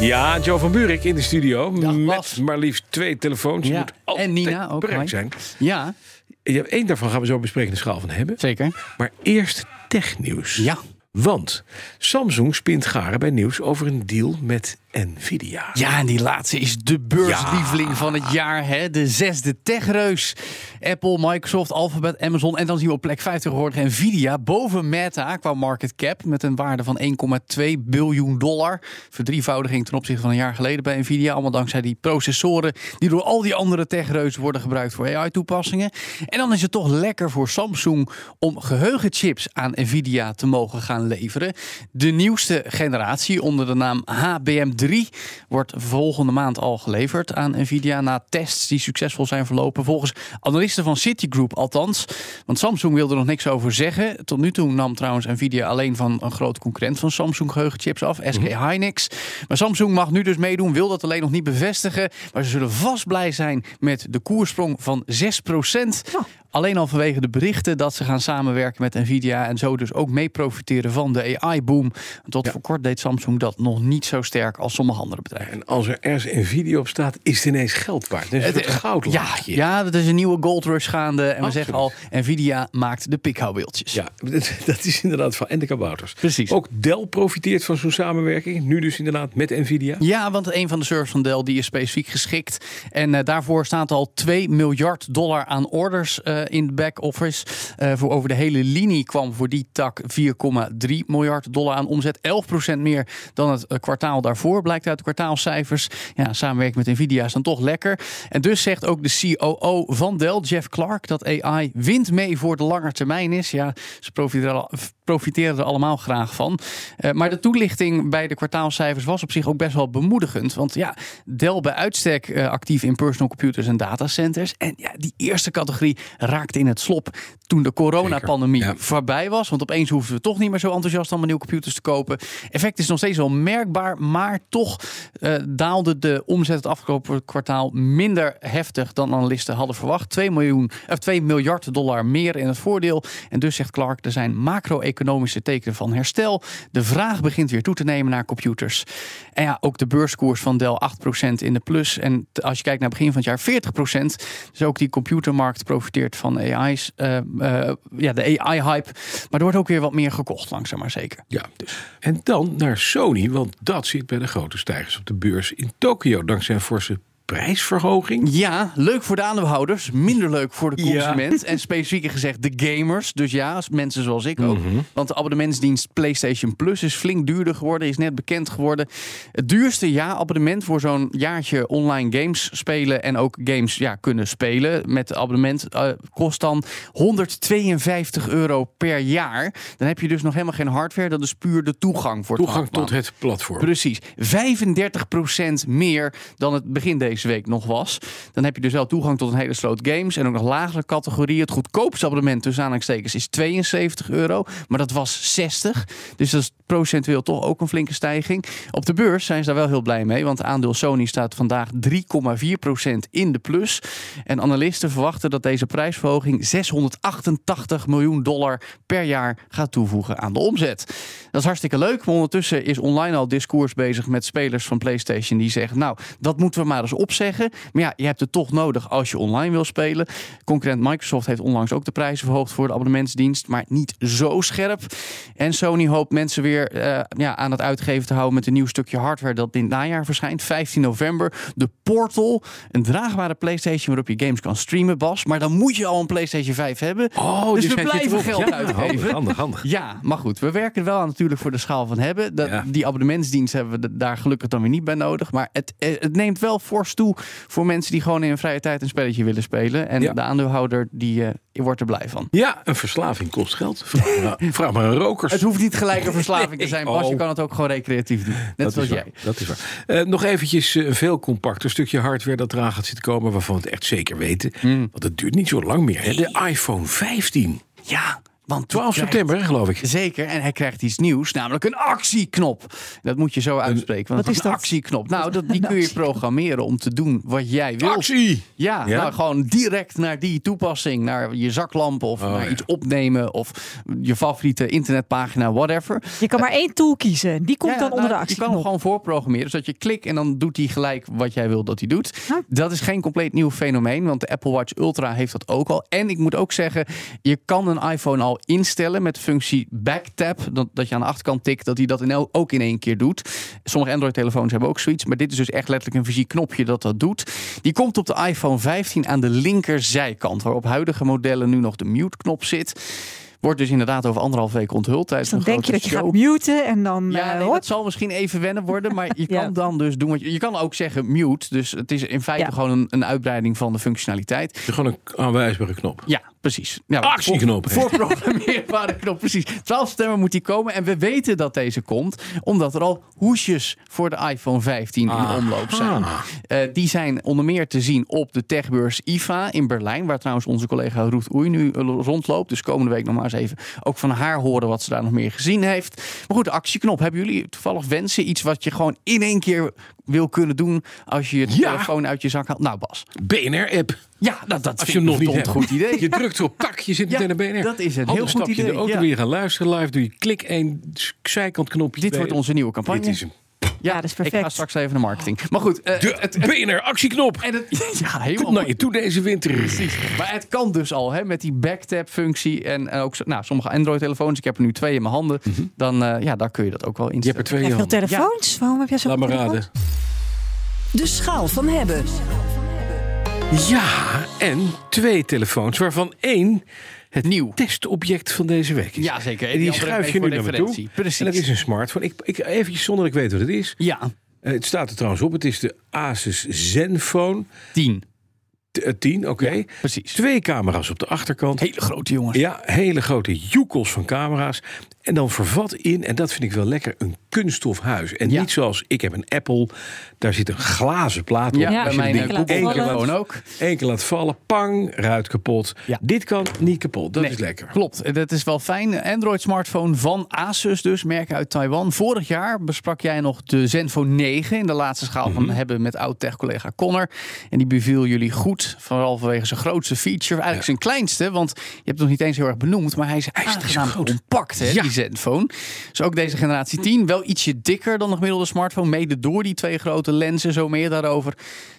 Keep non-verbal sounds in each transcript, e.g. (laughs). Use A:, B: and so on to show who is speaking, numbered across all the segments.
A: Ja, Joe van Buurik in de studio.
B: Dag,
A: met
B: Bas.
A: maar liefst twee telefoons. Je
B: Ja,
A: moet
B: en
A: altijd
B: Nina ook,
A: bereikt
B: hi.
A: zijn.
B: Ja,
A: Je hebt één daarvan gaan we zo bespreken in de schaal van hebben.
B: zeker.
A: Maar eerst technieuws.
B: Ja.
A: Want Samsung spint garen bij nieuws over een deal met Nvidia.
B: Ja, en die laatste is de beurslieveling van het jaar. Hè? De zesde techreus. Apple, Microsoft, Alphabet, Amazon. En dan zien we op plek 50 tegenwoordig Nvidia. Boven Meta qua market cap met een waarde van 1,2 biljoen dollar. Verdrievoudiging ten opzichte van een jaar geleden bij Nvidia. Allemaal dankzij die processoren die door al die andere techreuzen worden gebruikt voor AI-toepassingen. En dan is het toch lekker voor Samsung om geheugenchips aan Nvidia te mogen gaan leveren. De nieuwste generatie onder de naam HBM3 wordt volgende maand al geleverd aan Nvidia na tests die succesvol zijn verlopen. Volgens analisten van Citigroup althans. Want Samsung wilde er nog niks over zeggen. Tot nu toe nam trouwens Nvidia alleen van een groot concurrent van Samsung geheugenchips af, SK Hynix. Maar Samsung mag nu dus meedoen, wil dat alleen nog niet bevestigen. Maar ze zullen vast blij zijn met de koersprong van 6%. Alleen al vanwege de berichten dat ze gaan samenwerken met Nvidia en zo dus ook mee profiteren van de AI-boom. Tot voor kort deed Samsung dat nog niet zo sterk als sommige andere bedrijven.
A: En als er ergens Nvidia op staat, is het ineens geld waard. Dus het is een goud
B: ja, ja, dat is een nieuwe gold rush gaande. En we
A: Absoluut.
B: zeggen al, Nvidia maakt de pikhouwbeeldjes.
A: Ja, (laughs) dat, dat is inderdaad van en de kabouters.
B: Precies.
A: Ook Dell profiteert van zo'n samenwerking. Nu dus inderdaad met Nvidia.
B: Ja, want een van de servers van Dell die is specifiek geschikt. En eh, daarvoor staat al 2 miljard dollar aan orders eh, in de back-office. Eh, voor over de hele linie kwam voor die tak 4,3 miljard dollar aan omzet. 11% meer dan het eh, kwartaal daarvoor, blijkt uit de kwartaalcijfers. Ja, samenwerking met Nvidia is dan toch lekker. En dus zegt ook de COO van Dell, Jeff Clark, dat AI wint mee voor de lange termijn is. Ja, ze profiteren al- profiteren er allemaal graag van. Eh, maar de toelichting bij de kwartaalcijfers was op zich ook best wel bemoedigend. Want ja, Dell bij uitstek eh, actief in personal computers en datacenters. En ja, die eerste categorie raakte in het slop toen de coronapandemie
A: Zeker, ja.
B: voorbij was. Want opeens hoefden we toch niet meer zo enthousiast allemaal nieuwe computers te kopen. Effect is nog steeds wel merkbaar, maar toch eh, daalde de omzet het afgelopen kwartaal minder heftig dan analisten hadden verwacht. 2, miljoen, of 2 miljard dollar meer in het voordeel. En dus zegt Clark, er zijn macro-economische tekenen van herstel. De vraag begint weer toe te nemen naar computers. En ja, ook de beurskoers van Dell 8% in de plus. En t- als je kijkt naar begin van het jaar 40%. Dus ook die computermarkt profiteert van AI's. eh, eh, ja, de AI-hype. Maar er wordt ook weer wat meer gekocht, langzaam maar zeker.
A: Ja, dus. en dan naar Sony, want dat zit bij de grote stijgers op de beurs in Tokio. Dankzij een forse prijsverhoging.
B: Ja, leuk voor de aandeelhouders, minder leuk voor de
A: Ja.
B: consument. En specifieker gezegd de gamers. Dus ja, als mensen zoals ik ook.
A: Mhm.
B: Want de abonnementsdienst PlayStation Plus is flink duurder geworden, is net bekend geworden. Het duurste ja-abonnement voor zo'n jaartje online games spelen en ook games ja, kunnen spelen met abonnement eh, kost dan 152 euro per jaar. Dan heb je dus nog helemaal geen hardware, dat is puur de toegang voor
A: Toegang
B: het
A: tot het platform.
B: Precies. 35% meer dan het begin deze week nog was. Dan heb je dus wel toegang tot een hele sloot games en ook nog lagere categorieën. Het goedkoopste abonnement tussen aanhalingstekens is 72 euro, maar dat was 60. Dus dat is procentueel toch ook een flinke stijging. Op de beurs zijn ze daar wel heel blij mee, want aandeel Sony staat vandaag 3,4% in de plus. En analisten verwachten dat deze prijsverhoging 688 miljoen dollar per jaar gaat toevoegen aan de omzet. Dat is hartstikke leuk, maar ondertussen is online al discours bezig met spelers van PlayStation die zeggen: Nou, dat moeten we maar eens opzeggen. Maar ja, je hebt het toch nodig als je online wil spelen. Concurrent Microsoft heeft onlangs ook de prijzen verhoogd voor de abonnementsdienst, maar niet zo scherp. En Sony hoopt mensen weer eh, ja, aan het uitgeven te houden met een nieuw stukje hardware dat dit najaar verschijnt, 15 november. De Portal, een draagbare PlayStation waarop je games kan streamen, Bas. Maar dan moet je al een PlayStation 5 hebben.
A: Oh,
B: dus
A: je
B: we
A: zet je
B: blijven
A: erop.
B: geld
A: Ja, Handig,
B: uitgeven.
A: handig, handig.
B: Ja, maar goed, we werken er wel aan natuurlijk voor de schaal van hebben. Dat,
A: Ja.
B: Die abonnementsdienst hebben we d- daar gelukkig dan weer niet bij nodig. Maar het, eh, het neemt wel fors toe voor mensen die gewoon in hun vrije tijd een spelletje willen spelen. En
A: Ja.
B: de aandeelhouder die eh, wordt er blij van.
A: Ja, een verslaving kost geld. Vraag
B: (laughs)
A: maar, vraag maar aan rokers.
B: Het hoeft niet gelijk een verslaving te zijn, Bas. Je
A: Oh.
B: kan het ook gewoon recreatief doen. Net
A: Dat
B: zoals
A: is waar,
B: jij.
A: Dat is waar. Eh, nog eventjes eh, een veel compacter stukje hardware dat eraan gaat zitten komen... waarvan we het echt zeker weten.
B: Hmm.
A: Want het duurt niet zo lang meer. Hè? De iPhone 15.
B: Ja, want
A: 12
B: die krijgt-
A: september, hè, geloof ik.
B: Zeker, en hij krijgt iets nieuws, namelijk een actieknop. Dat moet je zo uitspreken. Want
C: Wat is
B: een
C: dat?
B: actieknop? Nou, dat, die kun je programmeren om te doen wat jij wilt.
A: Actie!
B: Ja,
A: Ja?
B: Nou, gewoon direct naar die toepassing, naar je zaklamp of naar
A: Oh, ja.
B: iets opnemen of je favoriete internetpagina, whatever.
C: Je kan maar één tool kiezen. Die komt
B: Ja,
C: dan
B: nou,
C: onder de
B: Je kan hem
C: actieknop.
B: gewoon voorprogrammeren, zodat je klikt en dan doet hij gelijk wat jij wil dat hij doet.
C: Ja.
B: Dat is geen compleet nieuw fenomeen, want de Apple Watch Ultra heeft dat ook al. En ik moet ook zeggen, je kan een iPhone al instellen met de functie backtap, dat, dat je aan de achterkant tikt, dat hij dat in el- ook in één keer doet. Sommige Android-telefoons hebben ook zoiets, maar dit is dus echt letterlijk een fysiek knopje dat dat doet. Die komt op de iPhone 15 aan de linkerzijkant, waar op huidige modellen nu nog de mute-knop zit. Wordt dus inderdaad over anderhalf week onthuld tijdens
C: Dus dan
B: een
C: denk je dat
B: grote
C: je
B: show.
C: gaat muten en dan
B: Ja,
C: eh,
B: nee,
C: hop.
B: dat zal misschien even wennen worden, maar je
C: (laughs) Ja.
B: kan dan dus doen wat je... Je kan ook zeggen mute, dus het is in feite
C: Ja.
B: gewoon een, een uitbreiding van de functionaliteit.
A: Het is gewoon een aanwijsbare knop.
B: Ja, precies. Ja,
A: Actieknop.
B: voor- Voorprogrammeerbare (laughs) knop, precies. 12 september moet die komen en we weten dat deze komt, omdat er al hoesjes voor de iPhone 15 in de omloop zijn. Eh, die zijn onder meer te zien op de techbeurs IFA in Berlijn, waar trouwens onze collega Ruth Oei nu eh, rondloopt. Dus komende week nog maar eens even ook van haar horen wat ze daar nog meer gezien heeft. Maar goed, de actieknop. Hebben jullie toevallig wensen? Iets wat je gewoon in één keer wil kunnen doen als je je
A: Ja.
B: telefoon uit je zak haalt? Nou Bas,
A: BNR-app.
B: ja, dat, dat
A: Als
B: vind
A: je hem
B: ik
A: nog niet
B: een
A: hebt.
B: verdomd goed idee.
A: (laughs)
B: (laughs)
A: Je drukt erop, tak, je zit
B: Ja,
A: meteen naar BNR.
B: dat is het.
A: Handig
B: Heel goed
A: stapje
B: idee,
A: in de auto
B: ja.
A: weer gaan luisteren live. Doe je klik één s- zijkant knopje.
B: Dit
A: twee.
B: wordt onze nieuwe campagne. Eh,
A: Dit is hem.
C: Ja, dat is
B: Ik ga
C: perfect.
B: straks even naar marketing. Maar goed, eh,
A: De BNR-actieknop.
B: en het, (laughs) ja, helemaal
A: Komt naar je toe deze winter.
B: Precies. Maar het kan dus al, hè, met die backtap-functie en eh, ook zo- nou, sommige Android-telefoons. Ik heb er nu twee in mijn handen. Dan, eh, ja, daar kun je dat ook wel
A: Je hebt er
B: instellen.
A: twee
C: Ja, veel
A: handen.
C: telefoons. Waarom heb jij zo
A: Laat maar raden.
D: De schaal van hebben.
A: Ja, en twee telefoons, waarvan één het
B: Nieuw.
A: testobject van deze week is.
B: Ja, zeker. En
A: En
B: die
A: die
B: andere
A: schuif
B: week
A: je
B: voor
A: nu naar me
B: referentie.
A: toe.
B: Precies.
A: En dat is een smartphone. Ik, ik, even zonder dat ik weet wat het is.
B: Ja,
A: Eh, het staat er trouwens op. Het is de Asus Zenfone
B: tien.
A: t- eh, 10. Oké.
B: Precies.
A: Twee camera's op de achterkant.
B: Hele grote jongens.
A: Ja, hele grote joekels van camera's. En dan vervat in, en dat vind ik wel lekker, een kunststof huis. En
B: Ja.
A: niet zoals, ik heb een Apple, daar zit een glazen plaat op.
B: Ja,
A: Als
C: Ja,
B: bij
A: je
B: mijn
A: die
B: eh,
C: één keer
B: Google-telefoon
A: laat-
B: ook.
A: Eén keer laat vallen, pang, ruit kapot.
B: Ja.
A: Dit kan niet kapot, dat
B: Nee,
A: is lekker.
B: Klopt, En dat is wel fijn. Android-smartphone van Asus, dus merk uit Taiwan. Vorig jaar besprak jij nog de Zenfone 9 in de laatste schaal van hebben met oud-tech-collega Connor. En die beviel jullie goed, vooral vanwege zijn grootste feature. Eigenlijk zijn kleinste, want je hebt het nog niet eens heel erg benoemd, maar hij is aangenaam compact, hè,
A: Ja.
B: die Zenfone. Dus ook deze generatie 10, wel ietsje dikker dan de gemiddelde smartphone, mede door die twee grote lenzen, zo meer daarover.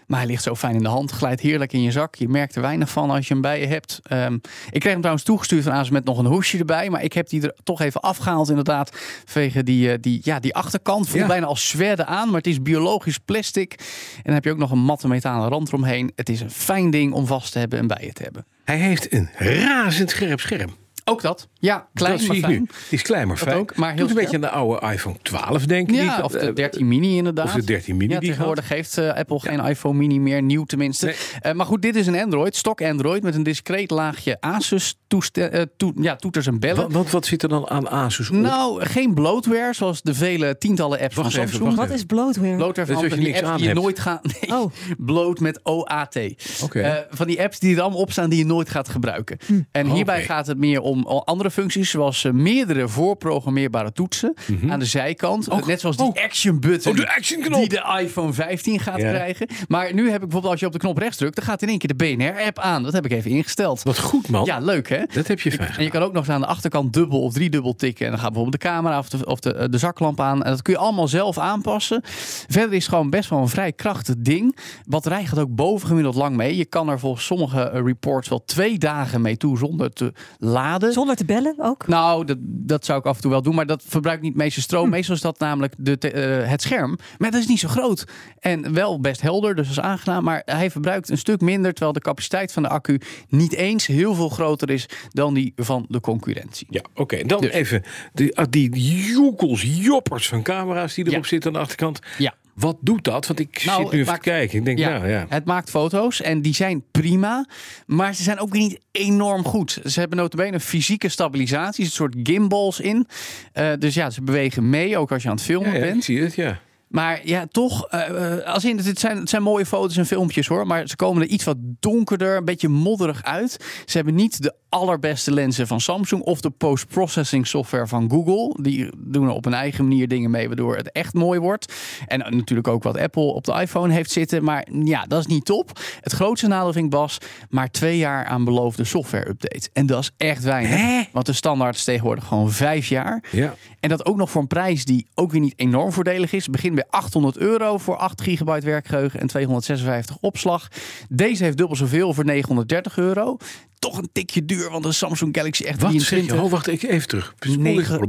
B: Maar hij ligt zo fijn in de hand, glijdt heerlijk in je zak. Je merkt er weinig van als je hem bij je hebt. Ehm, ik kreeg hem trouwens toegestuurd van Asus met nog een hoesje erbij. Maar ik heb die er toch even afgehaald inderdaad. Vanwege die, eh, die, ja, die achterkant. Voelt
A: Ja.
B: bijna als zwerde aan, maar het is biologisch plastic. En dan heb je ook nog een matte metalen rand eromheen. Het is een fijn ding om vast te hebben en bij je te hebben.
A: Hij heeft een razend scherp scherm.
B: Ook dat. Ja, klein
A: dat
B: maar
A: zie ik
B: fijn.
A: nu. Het is klein maar
B: Dat
A: fijn.
B: ook, maar heel
A: Doet een
B: scherp.
A: beetje aan de oude iPhone 12 denk ik.
B: Ja,
A: Die-
B: of
A: eh,
B: de 13 mini inderdaad.
A: of de 13 mini
B: Ja,
A: die
B: tegenwoordig heeft eh, Apple geen iPhone mini meer, nieuw tenminste.
A: Nee.
B: Eh, maar goed, dit is een Android, stok Android... met een discreet laagje Asus toeste- eh, toe- ja, toeters en bellen.
A: Wat, wat, wat zit er dan aan Asus op?
B: Nou, geen bloatware, zoals de vele tientallen apps
A: Wacht
B: van
A: even,
B: Samsung.
A: wacht
C: Wat is bloatware?
B: Bloatware
A: Dat
B: van
A: is als je
B: die
A: niks
B: apps
A: aan
B: die je
A: hebt.
B: nooit gaat... Nee,
C: Oh.
B: bloot met OAT.
A: Oké.
B: Eh, van die apps die er allemaal op staan die je nooit gaat gebruiken. En hierbij
A: Oké.
B: gaat het meer om al andere functies... zoals eh, meerdere voorprogrammeerbare toetsen aan de zijkant. Eh, net zoals die action button
A: Mhm. Oh, de actionknop.
B: die de iPhone 15 gaat
A: Ja.
B: krijgen. Maar nu heb ik bijvoorbeeld als je op de knop rechts drukt... dan gaat in één keer de BNR-app aan. Dat heb ik even ingesteld.
A: Wat goed man.
B: Ja, leuk hè?
A: Oh. Dat heb je fijn
B: En je kan ook nog eens aan de achterkant dubbel of driedubbel tikken. En dan gaat bijvoorbeeld de camera of, de, of de, eh, de zaklamp aan. En dat kun je allemaal zelf aanpassen. Verder is het gewoon best wel een vrij krachtig ding. Batterij gaat ook bovengemiddeld lang mee. Je kan er volgens sommige eh, reports wel twee dagen mee toe zonder te laden.
C: Zonder te bellen ook?
B: Nou, dat, dat zou ik af en toe wel doen, maar dat verbruikt niet het meeste stroom.
A: Hm.
B: Meestal is dat namelijk de te- eh, het scherm. Maar dat is niet zo groot. En wel best helder, dus dat is aangenaam. Maar hij verbruikt een stuk minder, terwijl de capaciteit van de accu niet eens heel veel groter is dan die van de concurrentie.
A: Ja, oké. Dan
B: Dus.
A: even die, ah, die joekels, joppers van camera's die erop
B: Ja.
A: zitten aan de achterkant.
B: Ja.
A: Wat doet dat? Want ik
B: Nou,
A: zit nu
B: het
A: even
B: maakt-
A: te kijken. Ik denk,
B: Ja,
A: nou ja.
B: Het maakt foto's en die zijn prima. Maar ze zijn ook weer niet enorm goed. Ze hebben notabene een fysieke stabilisatie. Er zitten een soort gimbals in. Eh, dus ja, ze bewegen mee, ook als je aan het filmen
A: Ja, ja, ik
B: bent.
A: zie het, ja.
B: Maar ja, toch, eh, eh, als in, het, zijn, het zijn mooie foto's en filmpjes hoor. Maar ze komen er iets wat donkerder, een beetje modderig uit. Ze hebben niet de allerbeste lenzen van Samsung of de post-processing software van Google. Die doen er op een eigen manier dingen mee, waardoor het echt mooi wordt. En eh, natuurlijk ook wat Apple op de iPhone heeft zitten. Maar ja, dat is niet top. Het grootste nadeel vind ik Bas, maar twee jaar aan beloofde software-update. En dat is echt weinig. Want de standaard is tegenwoordig gewoon vijf jaar.
A: Ja.
B: En dat ook nog voor een prijs die ook weer niet enorm voordelig is. Het Begint bij 800 euro voor 8 gigabyte werkgeheugen en 256 opslag. Deze heeft dubbel zoveel voor 930 euro. Toch een tikje duur, want een Samsung Galaxy echt
A: Wat zeg je?
B: 23.
A: Oh, wacht, ik even terug.
B: Negen-
A: Negen.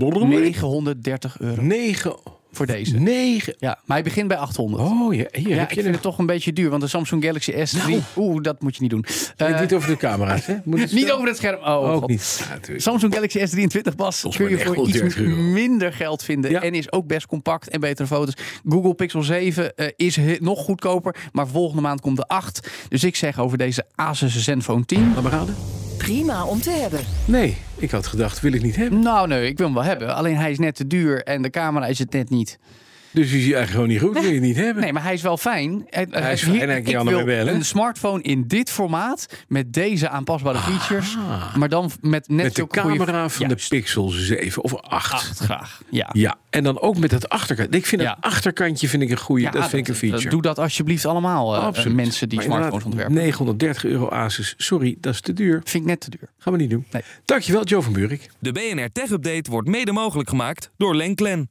B: 930 euro
A: Negen.
B: voor deze.
A: Negen.
B: Ja, maar hij begint bij 800.
A: Oh, ja, hier
B: ja,
A: heb
B: ik
A: je
B: vind
A: een...
B: het toch een beetje duur, want de Samsung Galaxy S3... Oeh, dat moet je niet doen.
A: Nee,
B: Eh,
A: Nou. niet over de camera's, hè? Moet het
B: (laughs) niet
A: zo-
B: over het scherm. Oh,
A: Ook
B: God.
A: niet. Ja, natuurlijk.
B: Samsung Galaxy S23 Bas
A: Kost
B: kun
A: maar
B: je voor
A: 930
B: iets
A: euro.
B: minder geld vinden
A: Ja.
B: en is ook best compact en betere foto's. Google Pixel 7 eh, is he- nog goedkoper, maar volgende maand komt de 8. Dus ik zeg over deze Asus Zenfone 10.
A: Laat maar raden.
D: Prima om te hebben.
A: Nee, ik had gedacht, wil ik niet hebben.
B: Nou nee, ik wil hem wel hebben. Alleen hij is net te duur en de camera is het net niet.
A: Dus die zie je eigenlijk gewoon niet goed, wil je niet hebben.
B: Nee, maar hij is wel fijn. Hij, hij
A: is fijn,
B: hier-
A: hij
B: ik
A: kan hem
B: wil
A: bellen.
B: een smartphone in dit formaat met deze aanpasbare features, maar dan met net
A: Ah. Met de
B: zulke goede-
A: camera van de
B: Juist. Ah.
A: Pixel 7 of 8.
B: Acht graag. Ja.
A: Ja, en dan ook met dat achterkant. Ik vind
B: Ja.
A: het achterkantje vind ik een goede, dat vind ik een feature.
B: eh, Doe dat alsjeblieft allemaal, eh,
A: Absoluut.
B: mensen die
A: Maar
B: smartphones
A: inderdaad,
B: ontwerpen.
A: 930 euro Asus. Sorry, dat is te duur.
B: Vind ik net te duur.
A: Gaan we niet doen.
B: Nee.
A: Dankjewel, Joe van Buurik.
E: De BNR Tech Update wordt mede mogelijk gemaakt door Lenklen.